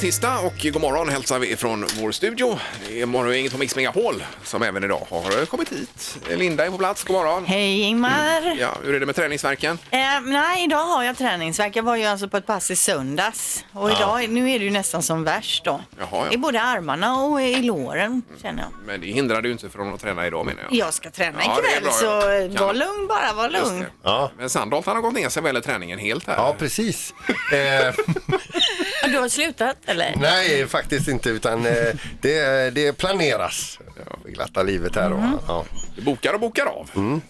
tisdag och god morgon hälsar vi från vår studio. Det är morgongänget på Mix Megapol som även idag har kommit hit. Linda är på plats, god morgon. Hej Ingmar! Ja, hur är det med träningsverken? Eh, nej, idag har jag träningsvärk. Jag var ju alltså på ett pass i söndags och idag, nu är det ju nästan som värst då. Jaha, ja. I både armarna och i låren känner jag. Men det hindrar du inte från att träna idag menar jag. Jag ska träna Ja, det är ikväll bra, så ja. Kan var du? lugn bara, var Just lugn. det. Ja. Men Sandholt han har gått ner sig väl i träningen helt här. Ja, precis. Eh, Ja, Du har slutat eller? nej, faktiskt inte. Utan eh, det, det planeras. Det Glatta livet här. Och, Mm. ja. Du bokar och bokar av. Mm.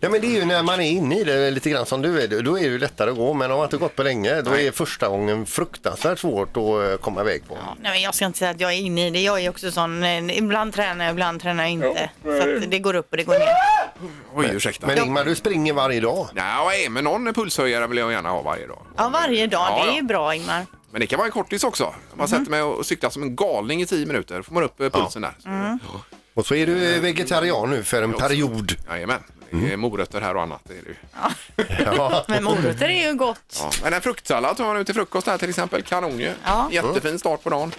Nej, men det är ju när man är inne i det lite grann som du är. Då är det ju lättare att gå. Men om man inte gått på länge, då är första gången fruktansvärt svårt att eh, komma iväg på. Nej, men jag ska inte säga att jag är inne i det. Jag är också sån, eh, ibland tränar jag, ibland tränar jag inte. så att det går upp och det går ner. Oj, ursäkta. Men Ingmar, du springer varje dag. Nej, men någon pulshöjare vill jag gärna ha varje dag. Ja, varje dag. Ja, det är ja. ju bra Ingmar. Men det kan vara en kortis också. Mhm. Man sätter mig och cyklar som en galning i tio minuter. Får man upp eh, pulsen där. Mm. Och så är du eh, vegetarian nu för en period. Jajamän. Mm. Det är morötter här och annat. Det är det ju. Ja. Men morötter är ju gott. Ja. Men en fruktsallad tar man nu till frukost här till exempel. Kanon ju. Ja. Jättefin start på dagen.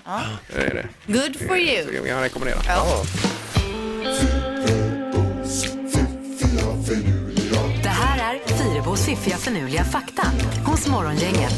Det är det. Good for Så you. kan jag rekommendera. Det här är Fyrabos fiffiga förnuliga fakta hos Morgongänget.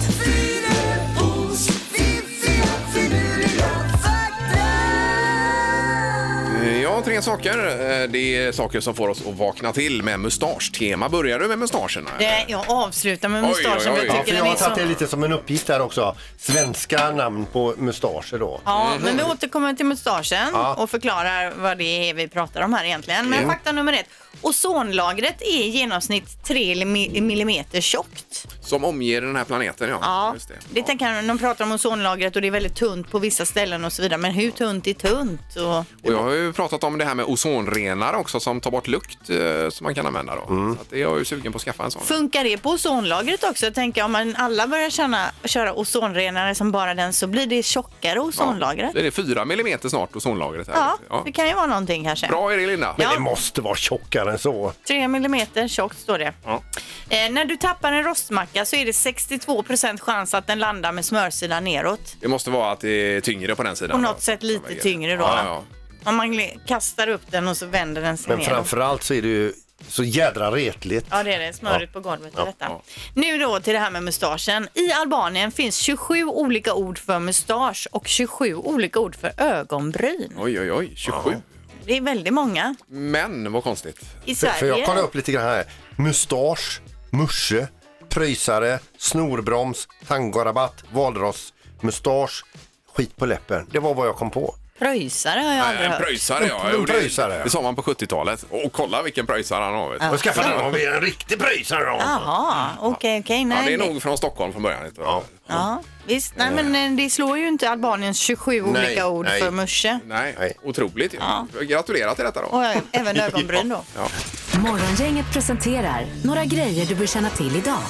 Eh, Ja, tre saker. Eh, Det är saker som får oss att vakna till med mustaschtema. Börjar du med mustascherna? Det, jag avslutar med Oj, mustaschen för oj, oj. jag Ja, tycker liksom- för jag den har är så... tagit det lite som en uppgift här också. Svenska namn på mustascher då. Ja, Eh, men vi återkommer till mustaschen Ja. och förklarar vad det är vi pratar om här egentligen. Men Jo. fakta nummer ett. Ozonlagret är i genomsnitt 3 mi- millimeter tjockt. Som omger den här planeten, ja. Ja, Just det. det tänker jag, de pratar om ozonlagret och det är väldigt tunt på vissa ställen och så vidare. Men hur tunt är tunt? Och, Och jag har ju pratat om det här med ozonrenare också som tar bort lukt eh, som man kan använda då. Så att det är jag ju sugen på att skaffa en sån. funkar det på ozonlagret också? Jag tänker om man alla börjar känna, köra ozonrenare som bara den så blir det tjockare ozonlagret. Ja, det är 4 mm snart ozonlagret här. Ja, Ja. det kan ju vara någonting kanske. Bra är det Linda. Ja. Det måste vara tjockare än så. 3 millimeter tjockt står det. Ja. Eh, när du tappar en rostmacka så är det 62 chans att den landar med smörsidan neråt. Det måste vara att det är tyngre på den sidan. På något sätt lite tyngre då. Ja, ja. Om man gl- kastar upp den och så vänder den sig Men neråt. framförallt så är det ju så jädra retligt. Ja, det är det. Smöret på golvet och detta. Nu då till det här med mustaschen. I Albanien finns 27 olika ord för mustasch och 27 olika ord för ögonbryn. Oj, oj, oj. 27. Det är väldigt många. Men vad konstigt. I För, Sverige... för jag kollar upp lite grann här. Mustasch, musche, pröjsare, snorbroms, tangorabatt, valross, mustasch, skit på läppen. Det var vad jag kom på. Pröjsare har jag aldrig en hört. pröjsare, ja. En Jo, det- pröjsare, ja. Det sa man på 70-talet. Och kolla vilken pröjsare han har. Vet du. Jag skaffade den. Om vi är en riktig pröjsare då. Jaha, okej, okej. Ja, nej, det är det- nog från Stockholm från början. Inte? Ja. Ja, visst. Nej, men eh, det slår ju inte Albaniens 27 olika ord nej. för musche. Nej, Nej. otroligt ju. Gratulerar till detta då. Och eh, även ögonbryn då. Morgongänget presenterar några grejer du bör känna till idag.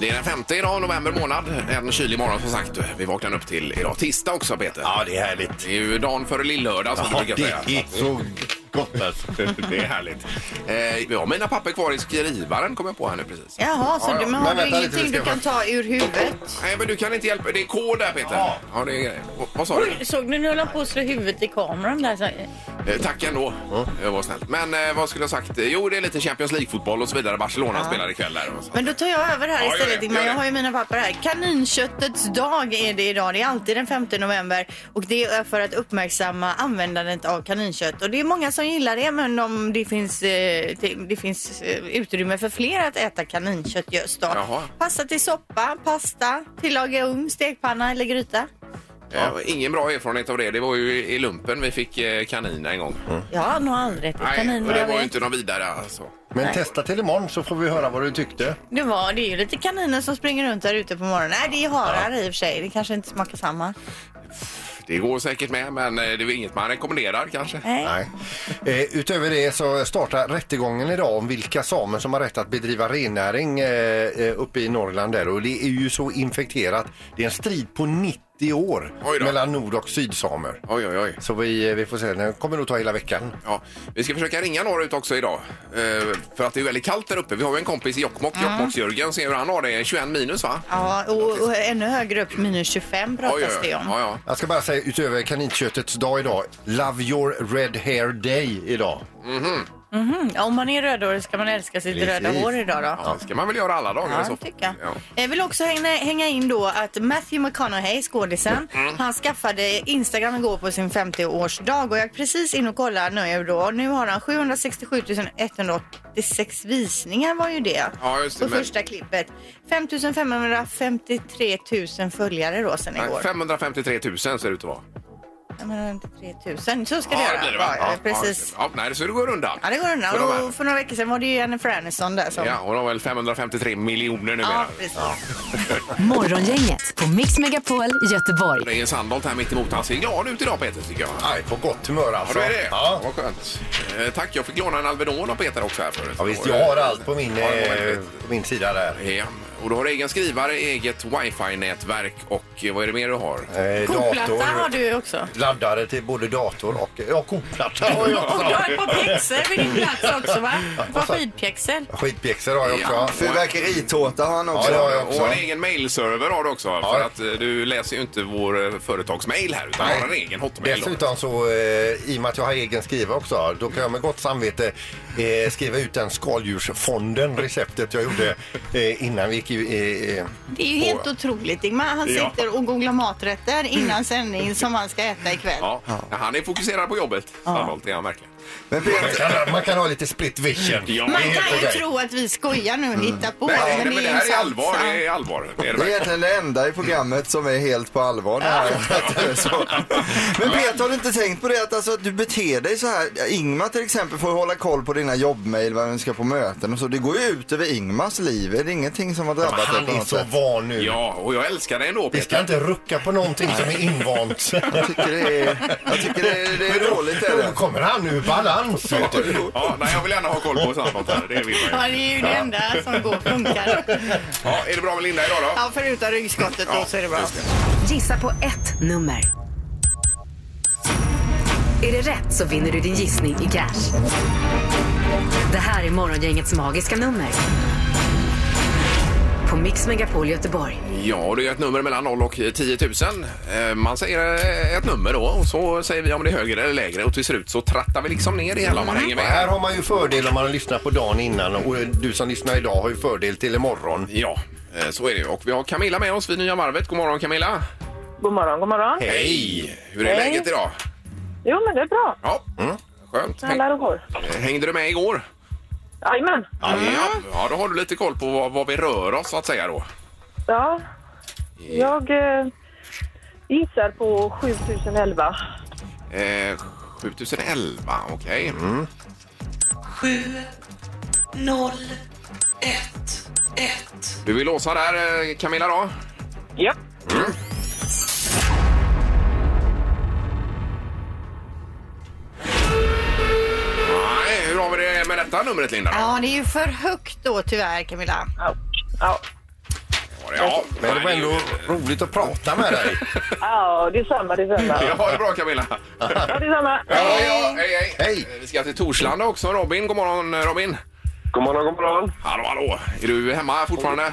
Det är den femte idag, november månad. En kylig morgon som sagt. Vi vaknade upp till idag tisdag också Peter. Ja, det är härligt. Det är ju dagen före lillördag som Ja, vi brukar det säga. är så gott alltså. Det är härligt. Eh, jag har mina papper kvar i skrivaren kom jag på här nu precis. Jaha, så Ja, ja. du, men har Men du vänta lite, vi ingenting ska du kan ta ur huvudet? Nej men du kan inte hjälpa, det är kod där Peter. Ja. Ja. det är, vad- vad sa du? Såg du nu höll han på att slå huvudet i kameran där? Så... Eh, tack ändå, det var snällt. Men eh, vad skulle jag ha sagt? Eh, Jo det är lite Champions League-fotboll och så vidare. Barcelona spelar ikväll där. och så. Men då tar jag över här Ja, gör istället det, Ingmar. gör Jag det. har ju mina papper här. Kaninköttets dag är det idag. Det är alltid den 5 november och det är för att uppmärksamma användandet av kaninkött. Och det är många som gillar det men om det finns, eh, det, det finns eh, utrymme för fler att äta kaninkött just då. Jaha. Passa till soppa, pasta, tillaga ugn, stekpanna eller gryta. Eh, ingen bra erfarenhet av det. Det var ju i lumpen vi fick eh, kanin en gång. Jag har nog aldrig ätit Nej, kanin och vad det jag var ju vet. inte någon vidare alltså. Men testa till imorgon så får vi höra vad du tyckte. Det, var, det är ju lite kaniner som springer runt där ute på morgonen. Nej, det är harar i och för sig. Det kanske inte smakar samma. Det går säkert med men eh, det är väl inget man rekommenderar kanske. Nej. Nej. Eh, utöver det så startar rättegången idag om vilka samer som har rätt att bedriva rennäring eh, eh, uppe i Norrland där och det är ju så infekterat. Det är en strid på 90 30 år Oj då. mellan nord och sydsamer. Oj, oj, oj. Så vi, vi får se, den kommer nog ta hela veckan. Ja, vi ska försöka ringa norrut också idag. Eh, för att det är väldigt kallt där uppe. Vi har ju en kompis i Jokkmokk, Jokkmokks-Jörgen. Ser hur han har det. 21 minus va? Ja, och, och ännu högre upp, minus 25 pratas det om. Ja, ja. Jag ska bara säga utöver kaninköttets dag idag, Love your red hair day idag. Ja, Mm. Om man är rödhårig ska man älska sitt Precis. röda hår idag då. Ja, det ska man väl göra alla dagar i så Ja, fall. tycker jag. Ja. Jag vill också hänga, hänga in då att Matthew McConaughey, skådisen, Mm. han skaffade Instagram igår på sin 50-årsdag och jag är precis in och kollar nu då och nu har han 767 186 visningar var ju det. Ja, just det, på men- första klippet. 5 553 000 följare då sen Nej, igår. 553 000 ser det ut att vara. 553 000, så ska det Ja, göra. det blir det va? Ja, precis. Ja, nej, så det går undan. Ja, det går För de här. undan. Och för några veckor sedan var det ju Jennifer Aniston där som... Ja, hon har väl 553 miljoner nu Ja, precis. Morgongänget på Mix Megapol Göteborg. Det är Sandholt här mitt emot. Han ser glad ut idag Peter tycker jag. Aj, på gott humör Ja, alltså. du är det? Ja. Vad skönt. Eh, tack, jag fick låna en Alvedon av Peter också här förut. Ja, visst, jag har allt på min, Ja, det var eh, väldigt- på min sida där. Ja, och du har egen skrivare, eget wifi-nätverk och eh, vad är det mer du har? Eh, Koplatta har du ju också. Laddare till både dator och ja, koplatta har jag Och du också. har ett par pjäxor vid din plats också va? Ett par skidpjäxor. Skidpjäxor har jag Ja. också. Fyrverkeritårta har han också. Ja, det har jag Och också. en egen mailserver har du också. För Ja. att eh, du läser ju inte vår eh, företagsmail här utan Nej. har en egen hotmail. då. Dessutom så, eh, i och med att jag har egen skriva också, då kan jag med gott samvete eh, skriva ut den skaldjursfonden, receptet jag gjorde eh, innan vi gick i... Eh, Det är ju helt otroligt Ingmar. Han Ja. sitter och googlar maträtter innan sändning som han ska äta ikväll. Ja, han är fokuserad på jobbet. Sandholt är han verkligen. Men man, Peter, kan, man kan ha lite split vision. Ja. Man Det är helt kan ju okej. tro att vi skojar nu och hittar på. Mm. Nej, nej, men, ju det här är en allvar. sansa. Det är allvar. Det är det det är verkligen. egentligen det enda i programmet som är helt på allvar. Det här. Så. Men Peter, har du inte tänkt på det att, alltså, att du beter dig så här? Ingmar till exempel får hålla koll på dina jobbmejl, vad du ska på möten och så. Det går ju ut över Ingmars liv. Är det ingenting som har drabbat dig Han på är något så sätt? van nu. Ja, och jag älskar det ändå Vi Peter. ska inte rucka på någonting som är invant. Jag tycker det är, jag tycker det är, det är dåligt. Är Då det. kommer han ur balans. vet du. Ja, nej, jag vill gärna ha koll på Sandholt här. Det vill jag. Ja, det är ju det enda som går funkar. Ja, är det bra med Linda idag då? Ja, förutom ryggskottet då så är det bra. just det. Gissa på ett nummer. Är det rätt så vinner du din gissning i cash. Det här är Morgongängets magiska nummer. På Mix Megapol Göteborg. Ja, och det är ett nummer mellan 0 och 10 000. Eh, Man säger eh, ett nummer då och så säger vi om det är högre eller lägre och till slut så trattar vi liksom ner det hela om man hänger Och Här med. har man ju fördel om man har lyssnat på dagen innan och du som lyssnar idag har ju fördel till imorgon. Ja, eh, så är det ju. Och vi har Camilla med oss vid Nya Varvet. God morgon Camilla! God morgon, god morgon. Hej! Hur är Hej. läget idag? Jo, men det är bra. Ja, skönt. Alla rår. Häng- Hängde du med igår? Jajamän. Ja, ja, då har du lite koll på vad, vad vi rör oss så att säga då. Ja, jag eh, gissar på 7011. Eh, 7011, okej. Mm. noll ett ett Du vill låsa där eh, Camilla då? Japp. Nej, hur har vi det med detta numret Linda? Då? Ja, det är ju för högt då tyvärr Camilla. Ja. Ja. Ja, ja, Men det var nej, är ändå ju- roligt att prata med dig. ja, detsamma, detsamma. Ja, ha det bra Camilla. Ja, detsamma. Ja, ja, hej, hej. Eh, Hej. Vi ska till Torslanda också. Robin, god morgon eh, Robin. God morgon, god morgon. Hallå, hallå. Är du hemma fortfarande?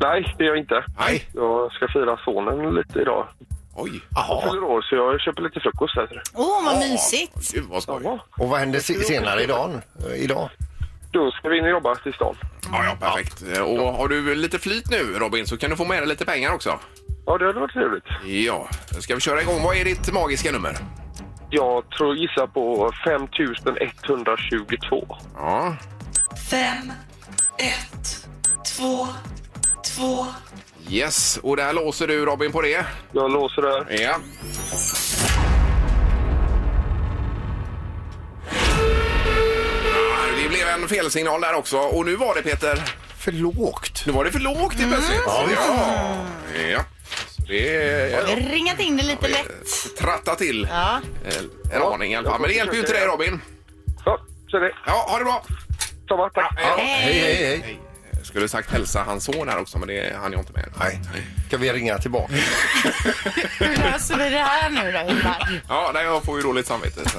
Nej, det är jag inte. Nej. Jag ska fira sonen lite idag. Oj. Han Jaha, fyller år, så jag köper lite frukost här. Åh, vad mysigt. Gud vad skoj. Ja, Ja. och vad händer se- senare i dagen? Eh, idag? Då ska vi in och jobba till stan. ja, perfekt. Eh, Och har du lite flyt nu Robin så kan du få med dig lite pengar också. Ja, det hade varit trevligt. Ja, ska vi köra igång? Vad är ditt magiska nummer? Jag tror gissar på 5122. Ja, fem ett två två yes. Och där låser du Robin på det. Jag låser där. Ja. Ja, Det blev en felsignal där också. Och nu var det Peter? För lågt. Nu var det för lågt helt plötsligt. Ja, ja. Så Det är Ringat in det lite lätt. tratta till Ja. eh, en aning i alla fall. Men det hjälper ju inte dig Robin. Ja, så är det. Ja, ha det bra! Samma, tack. Ja, Hej, hej, hej. Jag skulle sagt hälsa hans son här också, men det hann jag inte med. Nej. ska vi ringa tillbaka. Hur löser vi det här nu då, Ingmar? Ja, nej, jag får ju dåligt samvete. så.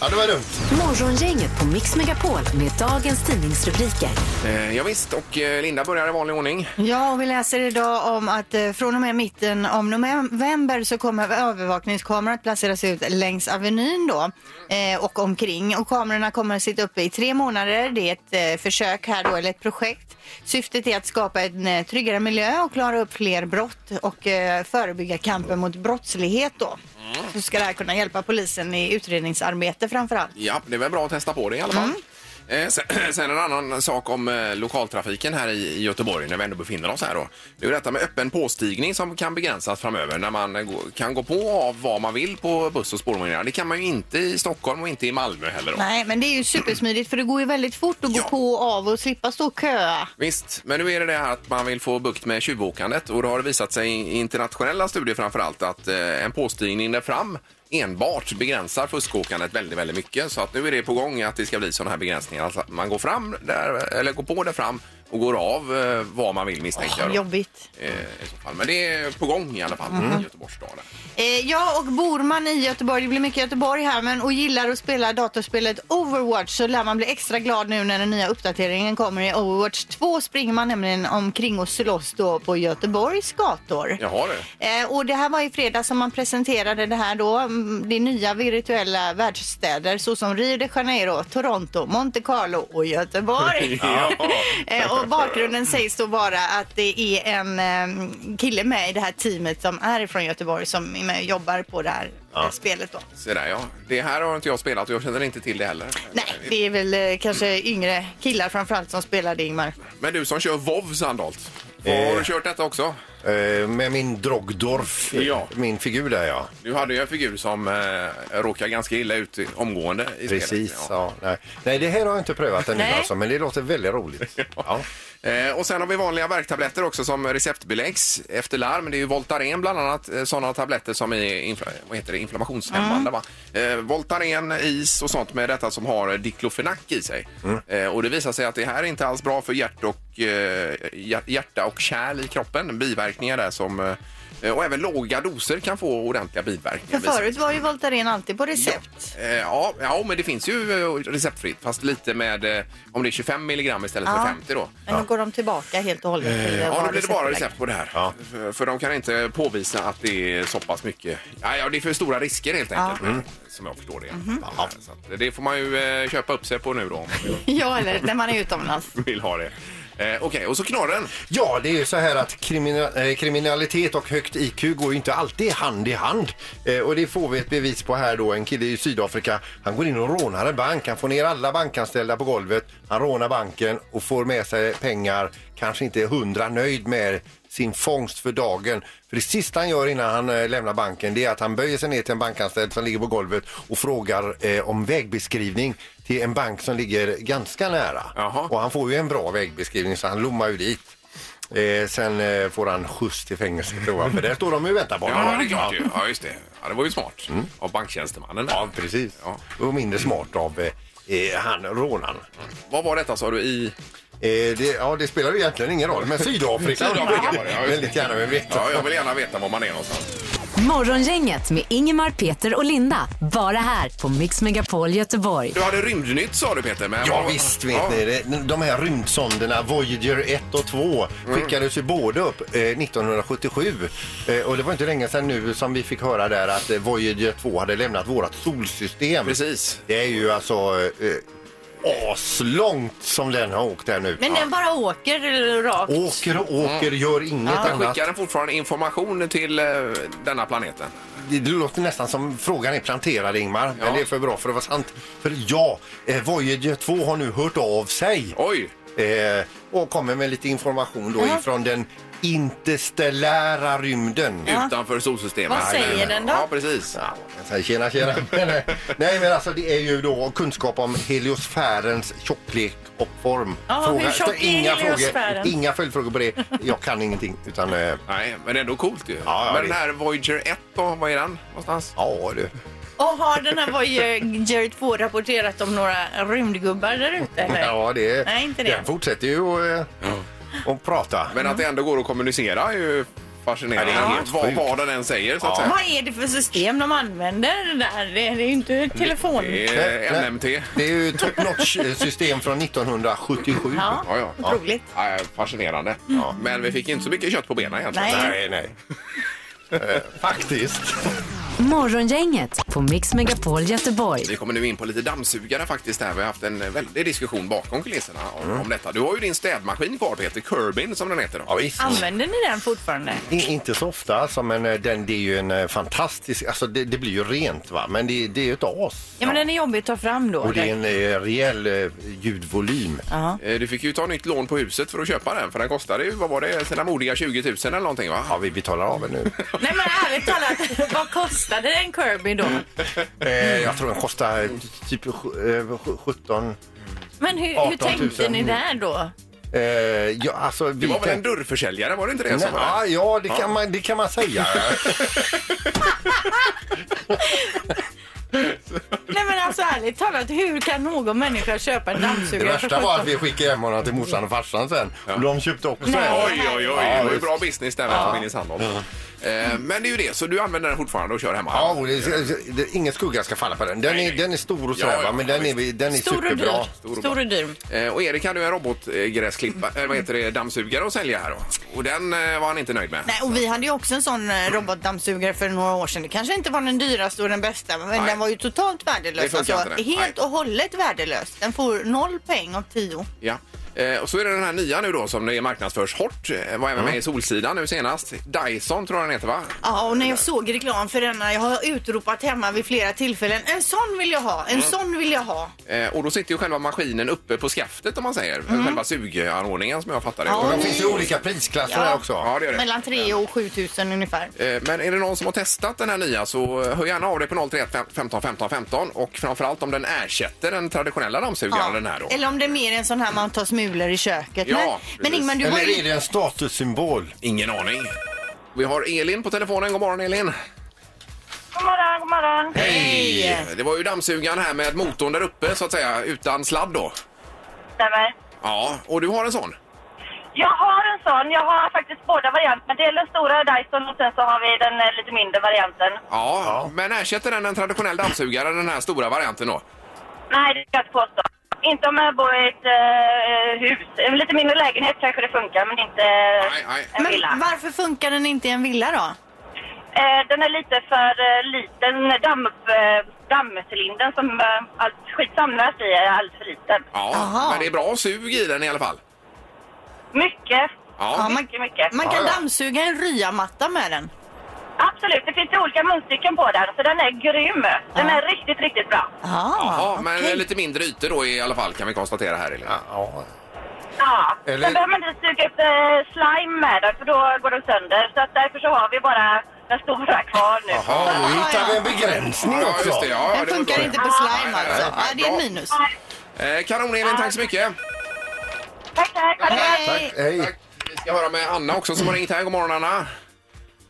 Ja, det var dumt. Morgongänget på Mix Megapol med dagens tidningsrubriker. Eh, ja, visst, och eh, Linda börjar i vanlig ordning. Ja, och vi läser idag om att eh, från och med mitten av november så kommer övervakningskameror att placeras ut längs Avenyn då eh, och omkring. Och kamerorna kommer att sitta uppe i tre månader. Det är ett eh, försök här då, eller ett projekt. Syftet är att skapa en eh, tryggare miljö och klara upp fler brott och eh, förebygga kampen mot brottslighet då. Mm. Så ska det här kunna hjälpa polisen i utredningsarbete framför allt. Ja, det är väl bra att testa på det i alla fall. Eh, sen, sen en annan sak om eh, lokaltrafiken här i i Göteborg när vi ändå befinner oss här då. Det är ju detta med öppen påstigning som kan begränsas framöver när man eh, gå, kan gå på och av vad man vill på buss och spårvagnar. Det kan man ju inte i Stockholm och inte i Malmö heller då. Nej, men det är ju supersmidigt för det går ju väldigt fort att gå Ja. på och av och slippa stå och köa. Visst, men nu är det det här att man vill få bukt med tjuvåkandet och då har det visat sig i internationella studier framför allt att eh, en påstigning där fram enbart begränsar fuskåkandet väldigt, väldigt mycket. Så att nu är det på gång att det ska bli sådana här begränsningar. Alltså att man går fram där, eller går på där fram och går av eh, vad man vill misstänka. då. Jobbigt. Eh, i så fall. Men det är på gång i alla fall i Göteborgsstaden. Eh, jag och bor man i Göteborg, det blir mycket Göteborg här, men och gillar att spela datorspelet Overwatch så lär man bli extra glad nu när den nya uppdateringen kommer. I Overwatch 2 springer man nämligen omkring och slåss då på Göteborgs gator. Jaha du. Eh, och det här var i fredags som man presenterade det här då. mm, Det är nya virtuella världsstäder såsom Rio de Janeiro, Toronto, Monte Carlo och Göteborg. Ja. Eh, och bakgrunden sägs då vara att det är en eh, kille med i det här teamet som är från Göteborg som är med och jobbar på det här eh, spelet då. Så där, ja. Det här har inte jag spelat och jag känner inte till det heller. Nej, det är väl eh, kanske yngre killar framförallt som spelar det, Ingmar. Men du som kör VOV Sandholt, Eh. har du kört detta också? Eh, Med min Drogdorf, eh, Ja. min figur där ja. Du hade ju en figur som eh, råkade ganska illa ut i- omgående i spelet. Precis, Ja. ja. nej. nej, det här har jag inte prövat ännu Nej. alltså, men det låter väldigt roligt. Ja. Eh, och sen har vi vanliga värktabletter också som receptbeläggs efter larm. Det är ju Voltaren bland annat, eh, sådana tabletter som är infla- vad heter det? inflammationshämmande. Va? Eh, Voltaren, is och sånt med detta som har diklofenak i sig. Eh, och det visar sig att det här är inte alls bra för hjärt och, eh, hjär- hjärta och kärl i kroppen. Biverkningar där som eh, och även låga doser kan få ordentliga För biverkningar. visar förut var ju Voltaren alltid på recept. Eh, Ja, ja, men det finns ju eh, receptfritt, fast lite med eh, om det är 25 milligram istället Ja. för 50 då. Men nu går de tillbaka helt och hållet till eh, Ja, vad nu blir det bara receptbelagt. recept på det här. För, för de kan inte påvisa att det är så pass mycket. Ja, ja, det är för stora risker helt enkelt, eh, som jag förstår det. Ja, Så att det får man ju eh, köpa upp sig på nu då, om man Ja, eller när man är utomlands. vill ha det. Eh, Okej, och så knorren. Ja, det är ju så här att krimina- eh, kriminalitet och högt IQ går ju inte alltid hand i hand. Eh, och det får vi ett bevis på här då. En kille i Sydafrika, han går in och rånar en bank. Han får ner alla bankanställda på golvet. Han rånar banken och får med sig pengar. Kanske inte hundra nöjd med sin fångst för dagen. För det sista han gör innan han eh, lämnar banken det är att han böjer sig ner till en bankanställd som ligger på golvet och frågar eh, om vägbeskrivning till en bank som ligger ganska nära. Jaha. Och han får ju en bra vägbeskrivning så han lommar ju dit. Eh, sen eh, får han skjuts till fängelset ovanför. Där står de ju och väntar på honom. Ja, det är klart ju. Ja, just det. Ja, det var ju smart av banktjänstemannen. Ja, Precis. Ja. Och mindre smart av eh, eh, han, rånaren. Vad var detta sa du i... Eh, det, ja, det spelar ju egentligen ingen roll, men Sydafrika. Sydafrika var det, ja, just det. Väldigt gärna vill veta. Ja, jag vill gärna veta var man är någonstans. Morgongänget med Ingemar, Peter och Linda. Bara här på Mix Megapol Göteborg. Du hade rymdnytt sa du Peter. Men Ja visst vet Ja. ni det. De här rymdsonderna Voyager 1 och 2 Mm. skickades ju båda upp eh, 1977. Eh, och det var inte länge sedan nu som vi fick höra där att eh, Voyager 2 hade lämnat vårat solsystem. Precis. Det är ju alltså eh, eh, aslångt som den har åkt här nu. Men den bara åker rakt. Åker och åker, gör inget Den annat. skickar den fortfarande information till eh, denna planeten. Det det låter nästan som frågan är planterad Ingmar, Ja. men det är för bra för att vara sant. För ja, eh, Voyager 2 har nu hört av sig. Oj! Eh, och kommer med lite information då ifrån den interstellära rymden. Utanför solsystemet. Vad säger Jajamän. den då? Ja, precis. Ja, man kan säga Tjena, tjena. Men, eh, Nej, men alltså det är ju då kunskap om heliosfärens tjocklek och form. Ja, hur tjock är inga, frågor, heliosfären? inga följdfrågor på det. Jag kan ingenting. Utan, eh, Nej, men det är ändå coolt ju. ja, men det- den här Voyager 1 då, var är den någonstans? ja, du. Och har den här Voyager 2 rapporterat om några rymdgubbar där ute? eller? Ja, det, Nej, inte det. Den fortsätter ju att eh, att prata. Mm. Men att det ändå går att kommunicera är ju fascinerande. Ja, det är helt vad, sjukt. vad den än säger så att säga. Vad är det för system de använder där? Det är ju inte telefon. Det är Nej. NMT. Det är ju top notch eh, system från 1977. Ja, Ja, ja. otroligt. Mm. Ja, fascinerande. Men vi fick inte så mycket kött på benen egentligen. Nej. Nej, nej. Eh, Faktiskt. Morgongänget på Mix Megapol Göteborg. Vi kommer nu in på lite dammsugare faktiskt här. Vi har haft en väldig diskussion bakom kulisserna om, Mm. om detta. Du har ju din städmaskin kvar Peter, Kerbin som den heter. Då. Ja, visst. Använder ni den fortfarande? I- Inte så ofta, alltså, men eh, den, det är ju en eh, fantastisk... Alltså, det, det blir ju rent, va? men det, det är ju ett as. Ja, men den är jobbig att ta fram då. Och det är eller? en eh, rejäl eh, ljudvolym. Ja. Eh, Du fick ju ta nytt lån på huset för att köpa den för den kostade ju, vad var det, sina modiga 20 000 eller någonting va? Ja, vi betalar av den nu. Nej men ärligt talat, vad kostade en Kirby då? eh, jag tror den kostar eh, typ eh, sj- 17... Men hur, hur 18 000. tänkte ni där då? Eh, ja, alltså, Det var väl en dörrförsäljare, var det inte det? Nej, som var det? ja, ja, det kan man, det kan man säga. Nej men alltså ärligt talat, hur kan någon människa köpa en Det dammsugare värsta var att 17? vi skickade hem honom till morsan och farsan sen. Och de köpte också Nej. en. Oj, oj, oj. Det var ju bra business där med familjen Sandholm. Eh, Men det är ju det, så du använder den fortfarande och kör hemma? Ja, och det, det, ingen skugga ska falla på den. Den Nej, är, nej. den är stor och Ja, sådär, ja, va, men den är, den är Stor och superbra. dyr. Stor och dyr. Eh, Och Erik hade ju en robotgräsklippa, eller vad heter det, dammsugare att sälja här då. Och den eh, var han inte nöjd med. Nej, och vi hade ju också en sån eh, robotdammsugare för några år sedan. Det kanske inte var den dyraste och den bästa, men Nej. den var ju totalt Det värdelös. Alltså, funkar inte det. helt Nej. och hållet värdelös. Den får noll poäng av tio. Ja. Eh, Och så är det den här nya nu då som det marknadsförs hårt. Eh, Var även med i Solsidan nu senast. Dyson tror jag den heter va? Ja, och när jag såg reklam för denna, jag har utropat hemma vid flera tillfällen. En sån vill jag ha, en sån vill jag ha. Eh, Och då sitter ju själva maskinen uppe på skaftet om man säger. Själva suganordningen som jag fattar det. Och Och de de- finns ju olika prisklasser här också. Ja, det gör det. Mellan 3 och 7 000 ungefär. Eh, Men är det någon som har testat den här nya så eh, hör gärna av dig på 031 15 15 15 och framförallt om den ersätter den traditionella dammsugaren den här då. Eller om det är mer en sån här man tar smulor i köket. Ja, men men precis. Ingmar, du har Eller ju... är det en statussymbol? Ingen aning. Vi har Elin på telefonen. God morgon Elin! God morgon, god morgon. Hej! Det var ju dammsugaren här med motorn där uppe så att säga utan sladd då. Stämmer. Ja, och du har en sån? Jag har en sån. Jag har faktiskt båda varianterna. Det är den stora Dyson och sen så har vi den eh, lite mindre varianten. Ja, men ersätter den en traditionell dammsugare, den här stora varianten då? Nej, det ska jag inte påstå. Inte om jag bor i ett eh, hus. En lite mindre lägenhet kanske det funkar, men inte eh, Nej, nej. en villa. Men varför funkar den inte i en villa då? Eh, den är lite för eh, liten. Damm, eh, dammcylindern som eh, allt skit samlas i är alldeles för liten. Ja, Aha. men det är bra sug i den i alla fall. Mycket. Ja, man, Mycket, mycket. man kan Ja, ja. dammsuga en ryamatta med den. Absolut, det finns ju olika munstycken på den, så den är grym. Den är riktigt, riktigt bra. ja, Ah, men okej. lite mindre ytor då i alla fall kan vi konstatera här Elin. Ja. Ja. Eller- Sen behöver man inte suga upp eh, slime med den, för då går den sönder. Så att därför så har vi bara den stora kvar nu. Jaha, nu hittar vi en begränsning Ja, också. just det. Ja, Den det var funkar så. inte på slime Nej, nej, alltså. nej, Ja, det är bra. ett minus. Eh, Kanon Elin, tack så mycket. Tack, tack. Ha det bra. Hej! Hej. Tack. Vi ska höra med Anna också som har ringt här. God morgon Anna.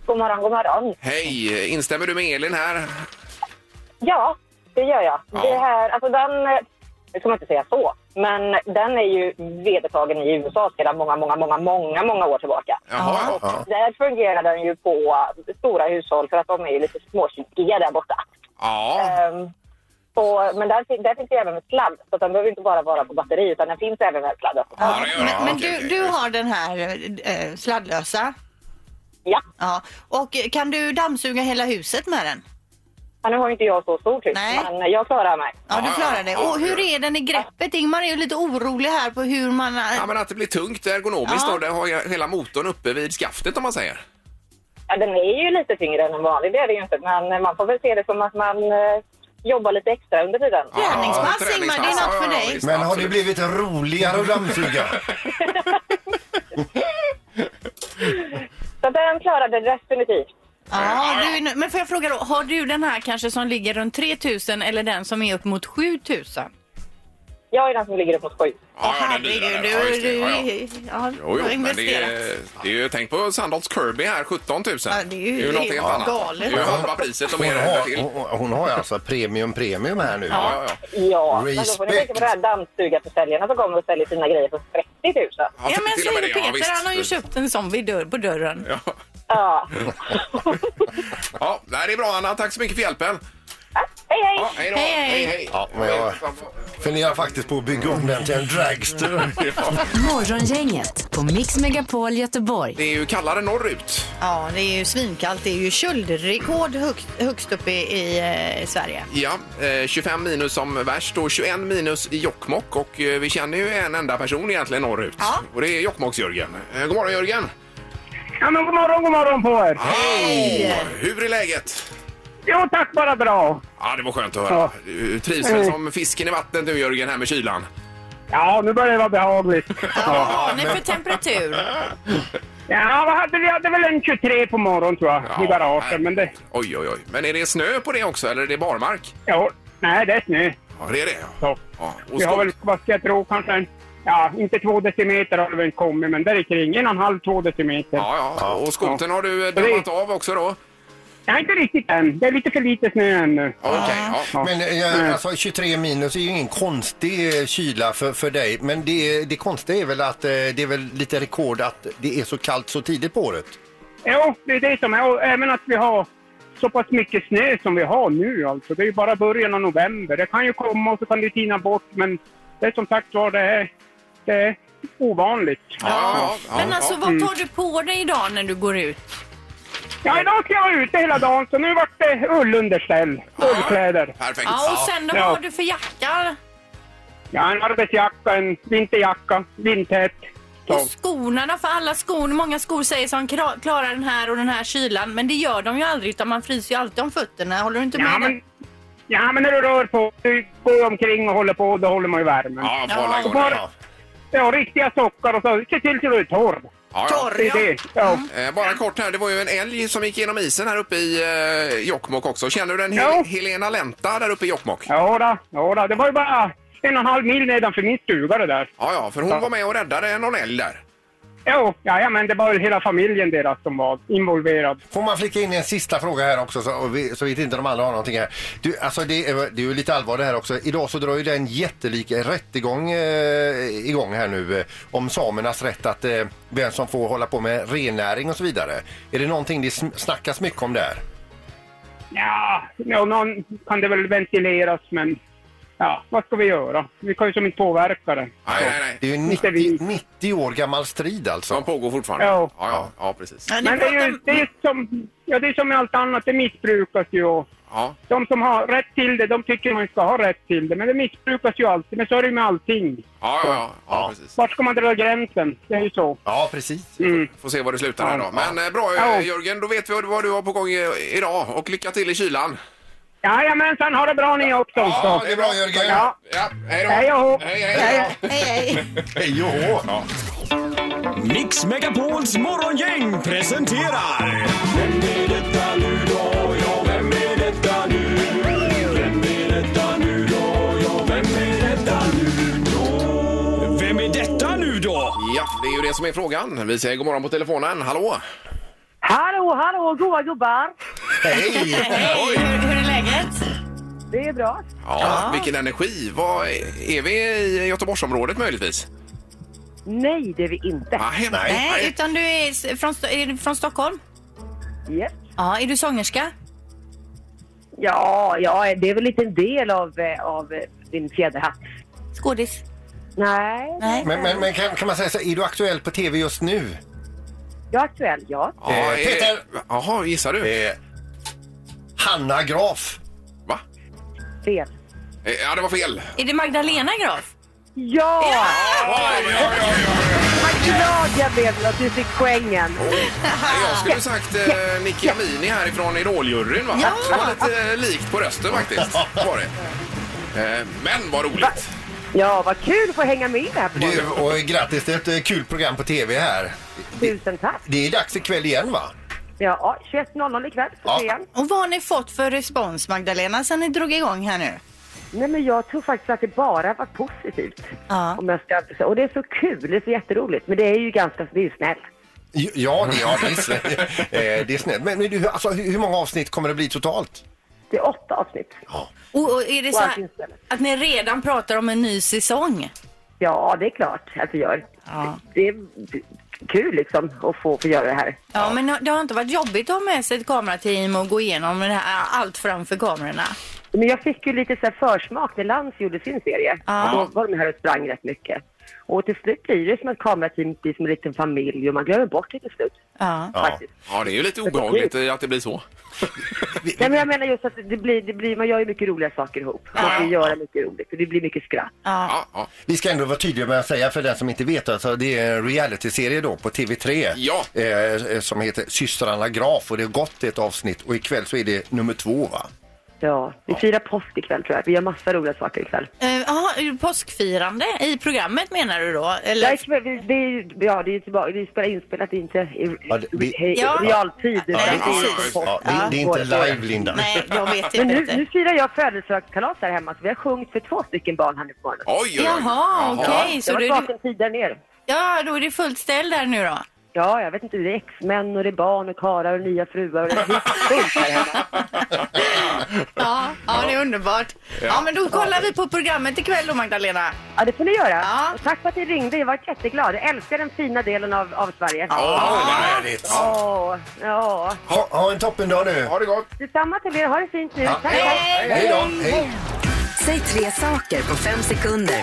God morgon, god morgon. Hej, instämmer du med Elin här? Ja, det gör jag. Ja. Det här, alltså den, eh, nu ska man inte säga så, men den är ju vedertagen i USA sedan många, många, många, många, många år tillbaka. Jaha. Ja. Där fungerar den ju på stora hushåll för att de är ju lite småkyliga där borta. Ja, Ehm, och, men där, fin- där finns det även med sladd, så att den behöver inte bara vara på batteri utan den finns även med sladd. ja det gör det. Men, men Okej, du, okej. du har den här eh, sladdlösa. Ja, Ja. Och eh, kan du dammsuga hela huset med den? Ja, nu har ju inte jag så stort hus, Nej. men jag klarar mig. Ja, Ja, du ja, klarar det. ja, Och det gör hur jag. är den i greppet? Ingmar är ju lite orolig här på hur man... eh, Ja, men att det blir tungt ergonomiskt Ja. då. Det har ju hela motorn uppe vid skaftet om man säger. Ja, den är ju lite tyngre än en vanlig, det är det ju inte. Men man får väl se det som att man eh, jobbar lite extra under tiden. Ja, Träningspass, träningspass. Ingmar, det är något Ja, för ja, dig. visst, Men har det absolut. blivit roligare att dammsuga? Så den klarade definitivt. Ja, du är nö- men får jag fråga då, har du den här kanske som ligger runt 3000 eller den som är upp mot 7000? Jag är den som ligger upp mot sju. Ja, ja, den dyra där. Ja, just det. du, Ja, ja. ja, Jo, du har jo, men det investerat. är, det är ju, tänk på Sandals Kirby här, 17 000. Ja, det är ju något helt helt annat. galet. Det är ju halva priset och Hon mer än har, till. hon, hon har ju alltså premium premium här nu. Ja, ja, ja. Ja, men då får ni tänka på de här dammsugarförsäljarna som kommer och säljer sina grejer för 30 000. Ja, men jag till och med säger det. Peter, visst. han har ju köpt en sån vid dörr, på dörren. Ja. Ja, Ja. Ja, nej, det är bra Anna. Tack så mycket för hjälpen. Hej, hej! Ja, hej då. Hej, hej. Ja, men jag funderar faktiskt på att bygga om den till en dragster. Morgongänget på Mix Megapol Göteborg. Det är ju kallare norrut. Ja, det är ju svinkallt. Det är ju köldrekord högst, högst upp i, i eh, Sverige. Ja, eh, 25 minus som värst och 21 minus i Jokkmokk. Och eh, vi känner ju en enda person egentligen norrut. Ja. Och det är Jokkmokks-Jörgen. Eh, god morgon Jörgen! Ja, men god morgon, god morgon på er! Hej! Hur är läget? Jo tack, bara bra. Ja, det var skönt att höra. Ja. Du trivs väl som fisken i vattnet nu Jörgen här med kylan? Ja, nu börjar det vara behagligt. Ja, vad har ni för temperatur? Ja, vad hade vi? Vi hade väl en 23 på morgonen tror jag, i nej. garagen. Men det, Oj, oj, oj. Men är det snö på det också eller är det barmark? ja, nej, det är snö. Ja, det är det. Ja. Så. Ja, och Vi har skog. väl, vad ska jag tro, kanske en, ja, inte två decimeter har det väl kommit, men där kring. En och en halv, två decimeter. Ja, ja. Och skotern har du eh, det- dammat av också då? Nej, inte riktigt än. Det är lite för lite snö ännu. Okej, ja. Ja. Men eh, alltså 23 minus är ju ingen konstig eh, kyla för, för dig. Men det, det konstiga är väl att eh, det är väl lite rekord att det är så kallt så tidigt på året. Jo, det är det som är. Och även att vi har så pass mycket snö som vi har nu alltså. Det är ju bara början av november. Det kan ju komma och så kan det tina bort. Men det är som sagt var, det är, det är ovanligt. Ja, ja, Men ja. alltså, vad Mm. tar du på dig idag när du går ut? Ja, idag ska jag vara ute hela dagen så nu vart det ullunderställ, ullkläder. Perfekt. Ja, och sen då, vad Ja. har du för jacka? Ja, en arbetsjacka, en vinterjacka, vindtät. Så. Och skorna då? För alla skor, många skor säger som kra- klarar den här och den här kylan. Men det gör de ju aldrig utan man fryser ju alltid om fötterna. Håller du inte med? Ja, där? men, ja, men när du rör på du går omkring och håller på, då håller man ju värmen. Ja, jag får hålla Ja. igång. Bara- Ja, riktiga sockar och så. Se till så du är torr. Ja, ja. Torr, Det är ja. det. Ja. Mm. Eh, Bara kort här, det var ju en älg som gick genom isen här uppe i eh, Jokkmokk också. Känner du den Hel- Ja. Helena Lenta där uppe i Jokkmokk? Ja. Ja, då, ja då. det var ju bara en och en halv mil nedanför min stuga det där. ja, för hon var med och räddade någon älg där. Jo, ja, men det var ju hela familjen deras som var involverad. Får man flika in en sista fråga här också så, och vi, så vet inte de andra har någonting här. Du, alltså det, är- det är ju lite allvar det här också. Idag så drar ju den jättelik rättegång eh, igång här nu eh, om samernas rätt att eh, vem som får hålla på med rennäring och så vidare. Är det någonting det sn- snackas mycket om där? Ja, ja, någon kan det väl ventileras, men ja, vad ska vi göra? Vi kan ju som inte påverka det. Nej, nej, Det nej. är ju Inte vi. 90, 90 år gammal strid De alltså. pågår fortfarande. Ja. ja, ja, ja precis. Ja, ni Men det är ju pratar- det är ju som, ja, det är som med allt annat, det missbrukas ju. och Ja. De som har rätt till det, de tycker man ska ha rätt till det, men det missbrukas ju alltid. Men så är det ju med allting. Ja, ja, ja, ja, precis. Vart ska man dra gränsen? Det är ju så. Mm. Ja, precis. Får se var det slutar här då. Men eh, bra Ja. eh, Jörgen, då vet vi vad du har på gång eh, idag och lycka till i kylan. Jajamensan, ha det bra ni också. Ja, det är bra Jörgen. Ja. Ja, hej då! Hej då. Hej, hej, hej. Hej, hej. Hej och hå. Mix Megapols morgongäng presenterar... Vem är detta nu då? Ja, vem är detta nu? Vem är detta nu då? Ja, vem är detta nu då? Vem är detta nu då? Ja, det är ju det som är frågan. Vi säger god morgon på telefonen. Hallå! Hallå, hallå, goa gubbar! Hej! Hej, hur, hur är läget? Det är bra. Ja, vilken energi. Vad, är vi i Göteborgsområdet möjligtvis? Nej, det är vi inte. Ah, nej. Nej, utan du är s- från, Sto- är du från Stockholm? Yes. Ja, är du sångerska? Ja, ja, det är väl inte en del av, eh, av eh, din fjäderhatt. Skådis? Nej. Nej. Men, men, men kan, kan man säga så här, är du aktuell på tv just nu? Jag är aktuell, ja. Ja, Eh, är- Peter. Jaha, gissar du? Eh, Hanna Graf. Va? Fel. Eh, Ja, det var fel. Är det Magdalena Graf? Ja! Vad glad jag blev när du fick poängen. Jag skulle sagt eh, Nicky Amini härifrån Idoljuryn, va? Ja. Det var lite eh, likt på rösten faktiskt. Var det. Eh, men vad roligt! Ja, vad kul att få hänga med här på Du, morgonen. och grattis till ett eh, kul program på tv här. Tusen tack. Det är dags ikväll igen va? Ja, 21.00 ikväll Ja. på trean. Och vad har ni fått för respons Magdalena sen ni drog igång här nu? Nej, men jag tror faktiskt att det bara var positivt. Ja. Om jag ska, och det är så kul, det är så jätteroligt. Men det är ju ganska det är ju snällt. J- Ja, det, ja, det är snällt. Eh, det är snällt. Men, men du, alltså, hur hur många avsnitt kommer det bli totalt? Det är åtta avsnitt. Och, och är det så allting här, ställer. att ni redan pratar om en ny säsong? Ja, det är klart att vi gör. Ja. Det, kul liksom att få, få göra det här. Ja, men det har inte varit jobbigt att ha med sig ett kamerateam och gå igenom det här, allt framför kamerorna. Men jag fick ju lite så här försmak när Lans gjorde sin serie. Ja. Och då var de här och sprang rätt mycket. Och till slut blir det som ett kamerateam, blir som en liten familj och man glömmer bort det till slut. Ja. Ja. ja, det är ju lite obehagligt eh, att det blir så. Nej, men jag menar just att det blir, det blir, man gör ju mycket roliga saker ihop. Man får ju göra mycket roligt och det blir mycket skratt. Ja, ja. Vi ska ändå vara tydliga med att säga för den som inte vet, alltså, det är en realityserie då på TV3 Ja. eh, som heter Systrarna Graf och det har gått ett avsnitt och ikväll så är det nummer två va? Ja, vi firar påsk ikväll tror jag. Vi gör massa roliga saker ikväll. Eh, Jaha, är det påskfirande i programmet menar du då? Eller? Eller? Det, är- det är ju ja, det är ju tillbaka, det är spelat inspelat, det är inte i, Ja, det- vi- i, i Ja. realtid. utan Ja, det är ja, ju ja, på- just Ja, det, det är inte live Linda. Nej, jag vet inte. Men nu, Peter. nu firar jag födelsedagskalas här hemma, så vi har sjungit för två stycken barn här nu på morgonen. Oj, oj, oj. Jaha, okej. jag Så har du, varit vaken tid där nere. ja, då är det fullt ställ där nu då? Ja, jag vet inte, det är ex-män och det är barn och karlar och nya fruar och det är fullt här hemma. Ja, ja det är underbart. Ja, men då kollar vi på programmet ikväll då Magdalena. Ja, det får ni göra. Ja. Och tack för att ni ringde, jag var jätteglad. Jag älskar den fina delen av, av Sverige. Ja, vad härligt. Åh, ja. Ha, ha en toppendag nu. Ha det gott. Detsamma till er, ha det fint nu. Ja. Tack, tack. Hej då. Hej. Säg tre saker på fem sekunder.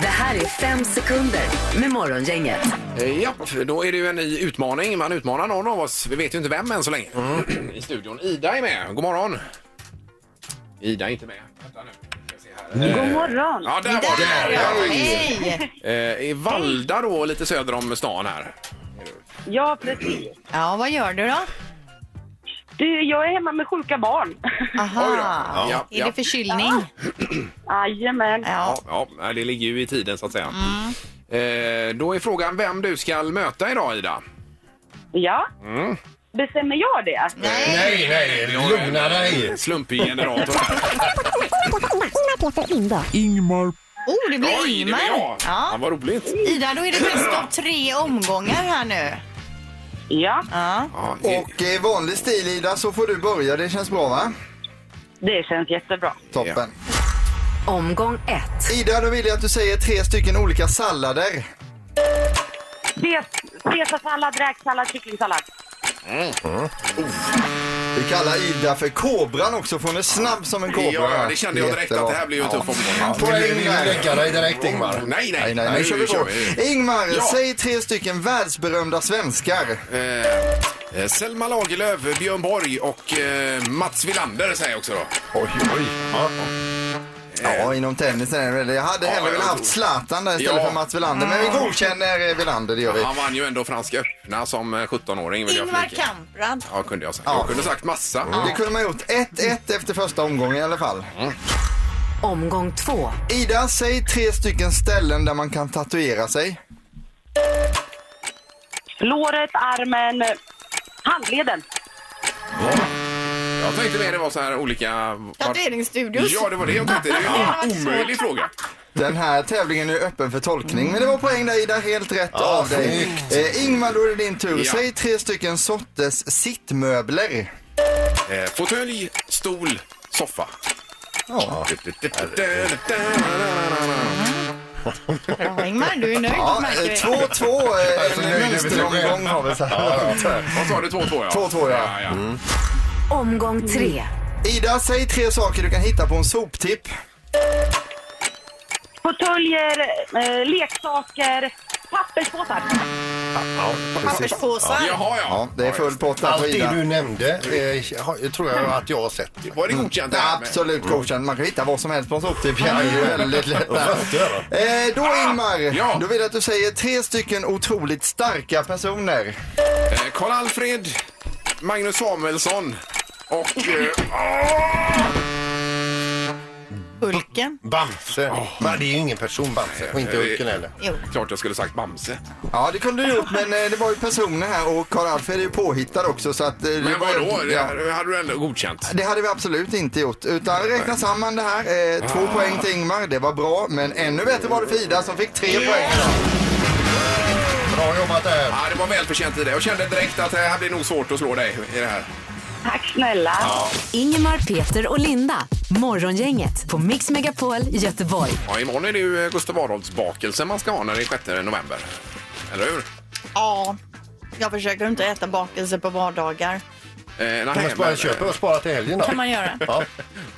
Det här är fem sekunder med Morgongänget. Eh, Japp, då är det ju en ny utmaning. Man utmanar någon av oss. Vi vet ju inte vem än så länge. I studion. Ida är med. God morgon. Ida är inte med. Vänta nu. Ska se här. Eh, God morgon. Ja, där var Där, det. ja. Hej! Eh, I Valda då, lite söder om stan här. Ja, precis. Ja, vad gör du då? Du, jag är hemma med sjuka barn. Aha. Ja, ja. Är det förkylning? Jajamän. Ja. Ja, nej, det ligger ju i tiden så att säga. Mm. Eh, då är frågan vem du ska möta idag Ida. Ja. Bestämmer jag det? Nej, nej, lugna dig. Slumpgenerator. Oh, det blir Oj, det Ingmar. var jag. Ja, Ja. vad roligt. Ida, då är det bäst av tre omgångar här nu. Ja, Ja. Ja, det- Och i vanlig stil Ida så får du börja, det känns bra va? det känns jättebra. Toppen. Omgång ett. Ida, då vill jag att du säger tre stycken olika sallader. Ces- Caesarsallad, räksallad, kycklingsallad. Vi kallar Ida för Kobran också, för hon är snabb som en kobra. Ja, det kände jag direkt Jättebra. att det här blir ju en tuff omgång. Poäng Vill du där. lägga dig direkt Ingmar? Nej, nej, Nej, nej, nu kör vi på. Ingmar, Ja. säg tre stycken världsberömda svenskar. Eh, Selma Lagerlöf, Björn Borg och eh, Mats Wilander säger jag också då. Oj, oj. Ja. Ja, inom tennisen är det väl. Jag hade Ja, hellre jag velat tror- haft Zlatan där istället Ja. för Mats Wilander. Men vi godkänner eh, Wilander, det gör vi. Han vann ju ändå Franska öppna som eh, 17-åring. vill jag Ingmar flika in. Kamprad. Ja, kunde jag sagt. Ja. Mm. Jag kunde sagt massa. Det kunde man gjort. 1-1 efter första omgången i alla fall. Omgång två. Ida, säg tre stycken ställen där man kan tatuera sig. Låret, armen, handleden. Jag tänkte mer det var så här olika... var- Tatueringsstudios. Ja, det var det jag tänkte. Det är Ja, ju det en var omöjlig fråga. Den här tävlingen är öppen för tolkning. Men det var poäng där Ida, helt rätt av dig. Eh, Ingmar, då är det din tur. Ja. Säg tre stycken sorters sittmöbler. Eh, fåtölj, stol, soffa. Ja. Bra Ingmar, du är nöjd Ja, eh, märker vi. 2-2. eh, Alltså, nu är det En mönsteromgång har vi så här. Vad sa du? 2-2 ja. 2-2, ja. Mm. ja, Mm. ja. Omgång tre. Ida, säg tre saker du kan hitta på en soptipp. Fåtöljer, eh, leksaker, papperspåsar. Papperspåsar. Jaha, ja. Ja, det är full pott där på Allt det Ida. du nämnde eh, har- tror jag att jag har sett. Var det godkänt? det Ja, här med- absolut godkänd. Man kan hitta vad som helst på en soptipp. Ja, det är väldigt lätt. där. Eh, då Ingmar, ja. då vill jag att du säger tre stycken otroligt starka personer. Eh, Karl-Alfred, Magnus Samuelsson och... Eh, Hulken. Bamse. Men det är ju ingen person Bamse och inte Hulken heller. Jo. klart jag skulle sagt Bamse. Ja, det kunde du gjort, men eh, det var ju personer här och Karl-Alfred är ju påhittad också. Så att, eh, det Men var ju- vadå? Ja. Det hade du ändå godkänt. Det hade vi absolut inte gjort. Utan räkna samman det här. Eh, två poäng till Ingmar, det var bra. Men ännu bättre var det för Ida som fick tre poäng. Bra jobbat där. Ja, det var välförtjänt i det. Jag kände direkt att eh, det här blir nog svårt att slå dig i det här. Tack snälla. Ingemar, Peter och Linda. Morgongänget på Mix Megapol Göteborg. Ja, imorgon är det ju eh, Gustav Adolfs bakelse man ska ha när det är 6 november. Eller hur? Ja, jag försöker inte äta bakelse på vardagar. Eh, Kan man spara, köpa och spara till helgen då? kan man göra. Ja.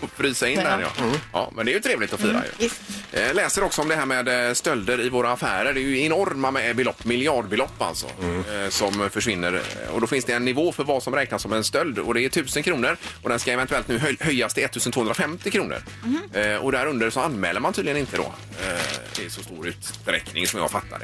och frysa in den, ja. ja. Men det är ju trevligt att fira Mm, ju. Eh, läser också om det här med eh, stölder i våra affärer. Det är ju enorma med belopp, miljardbelopp alltså, eh, som försvinner. Eh, Och då finns det en nivå för vad som räknas som en stöld och det är 1000 kronor och den ska eventuellt nu höj- höjas till 1250 kronor. Eh, och därunder så anmäler man tydligen inte då eh, i så stor utsträckning som jag fattar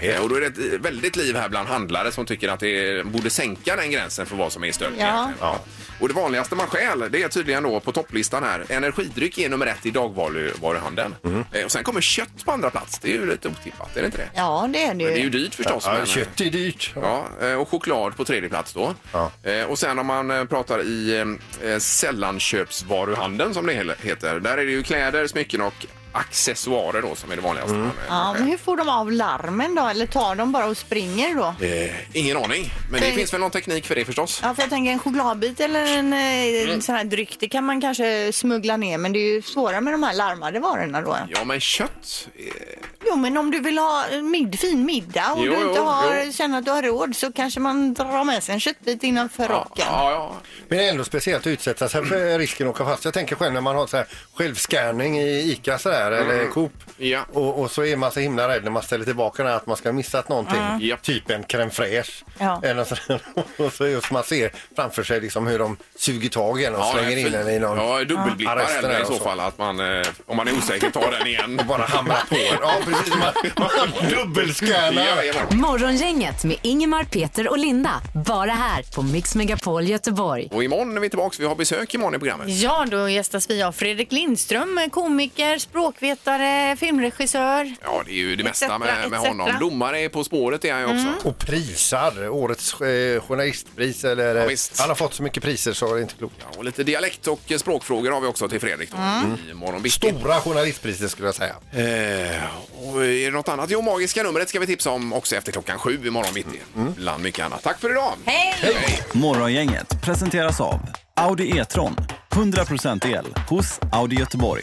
det. Eh, och då är det ett väldigt liv här bland handlare som tycker att det borde sänka den gränsen för vad som är stöld. Ja. egentligen. Ja. Och det vanligaste man stjäl, det är tydligen då på topplistan här. Energidryck är nummer ett i dagvaruhandeln. Eh, Och sen kommer kött på andra plats. Det är ju lite otippat, är det inte det? Ja, det är det ju. Men det är ju dyrt förstås. Ja, men- kött är dyrt. Ja, eh, och choklad på tredje plats då. Eh, Och sen om man eh, pratar i eh, sällanköpsvaruhandeln som det hel- heter. Där är det ju kläder, smycken och accessoarer då som är det vanligaste. man, eh, Ja, men hur får de av larmen då? Eller tar de bara och springer då? Eh, ingen aning, men det Nej. finns väl någon teknik för det förstås. Ja, för jag tänker en chokladbit eller en, eh, Mm. en sån här dryck, det kan man kanske smuggla ner men det är ju svårare med de här larmade varorna då. Ja, men kött? eh, Jo, men om du vill ha en mid, fin middag och Jo, du inte jo, har, jo. känner att du har råd så kanske man drar med sig en köttbit innanför rocken. Ja, ja. Men det är ändå speciellt att utsätta sig för risken att åka fast. Jag tänker själv när man har så här självscanning i ICA så här, eller Coop. Mm. Ja. Och, och så är man så himla rädd när man ställer tillbaka den här att man ska ha missat någonting. Mm. Typ en crème fraîche. Ja. Eller så, och så just man ser framför sig liksom hur de suger tag i en och slänger in den i någon. Ja, dubbelblippar Arresten hellre där i och så fall. Att man, eh, om man är osäker, tar den igen. Och bara hamrar på. Ja, precis. Man, man dubbelscannar. Morgongänget med Ingemar, Peter och Linda. Bara här på Mix Megapol Göteborg. Och imorgon är vi tillbaka. Vi har besök imorgon i programmet. Ja, då gästas vi av Fredrik Lindström, komiker, språkvetare, filmregissör. Ja, det är ju det mesta Etcetera, med, med honom. etcetera. Domare är På spåret är han ju också. Och prisar. Årets eh, journalistpris. Eller, Ja, visst. han har fått så mycket priser så det är inte klokt. Ja, och lite dialekt och eh, språkfrågor har vi också till Fredrik. Då, imorgon bitti. Stora journalistpriser skulle jag säga. Eh, och är det något annat? Jo, magiska numret ska vi tipsa om också efter klockan sju imorgon Mm. bitti. Bland mycket annat. Tack för idag! Morgongänget presenteras av Audi E-tron. 100% el hos Audi Göteborg.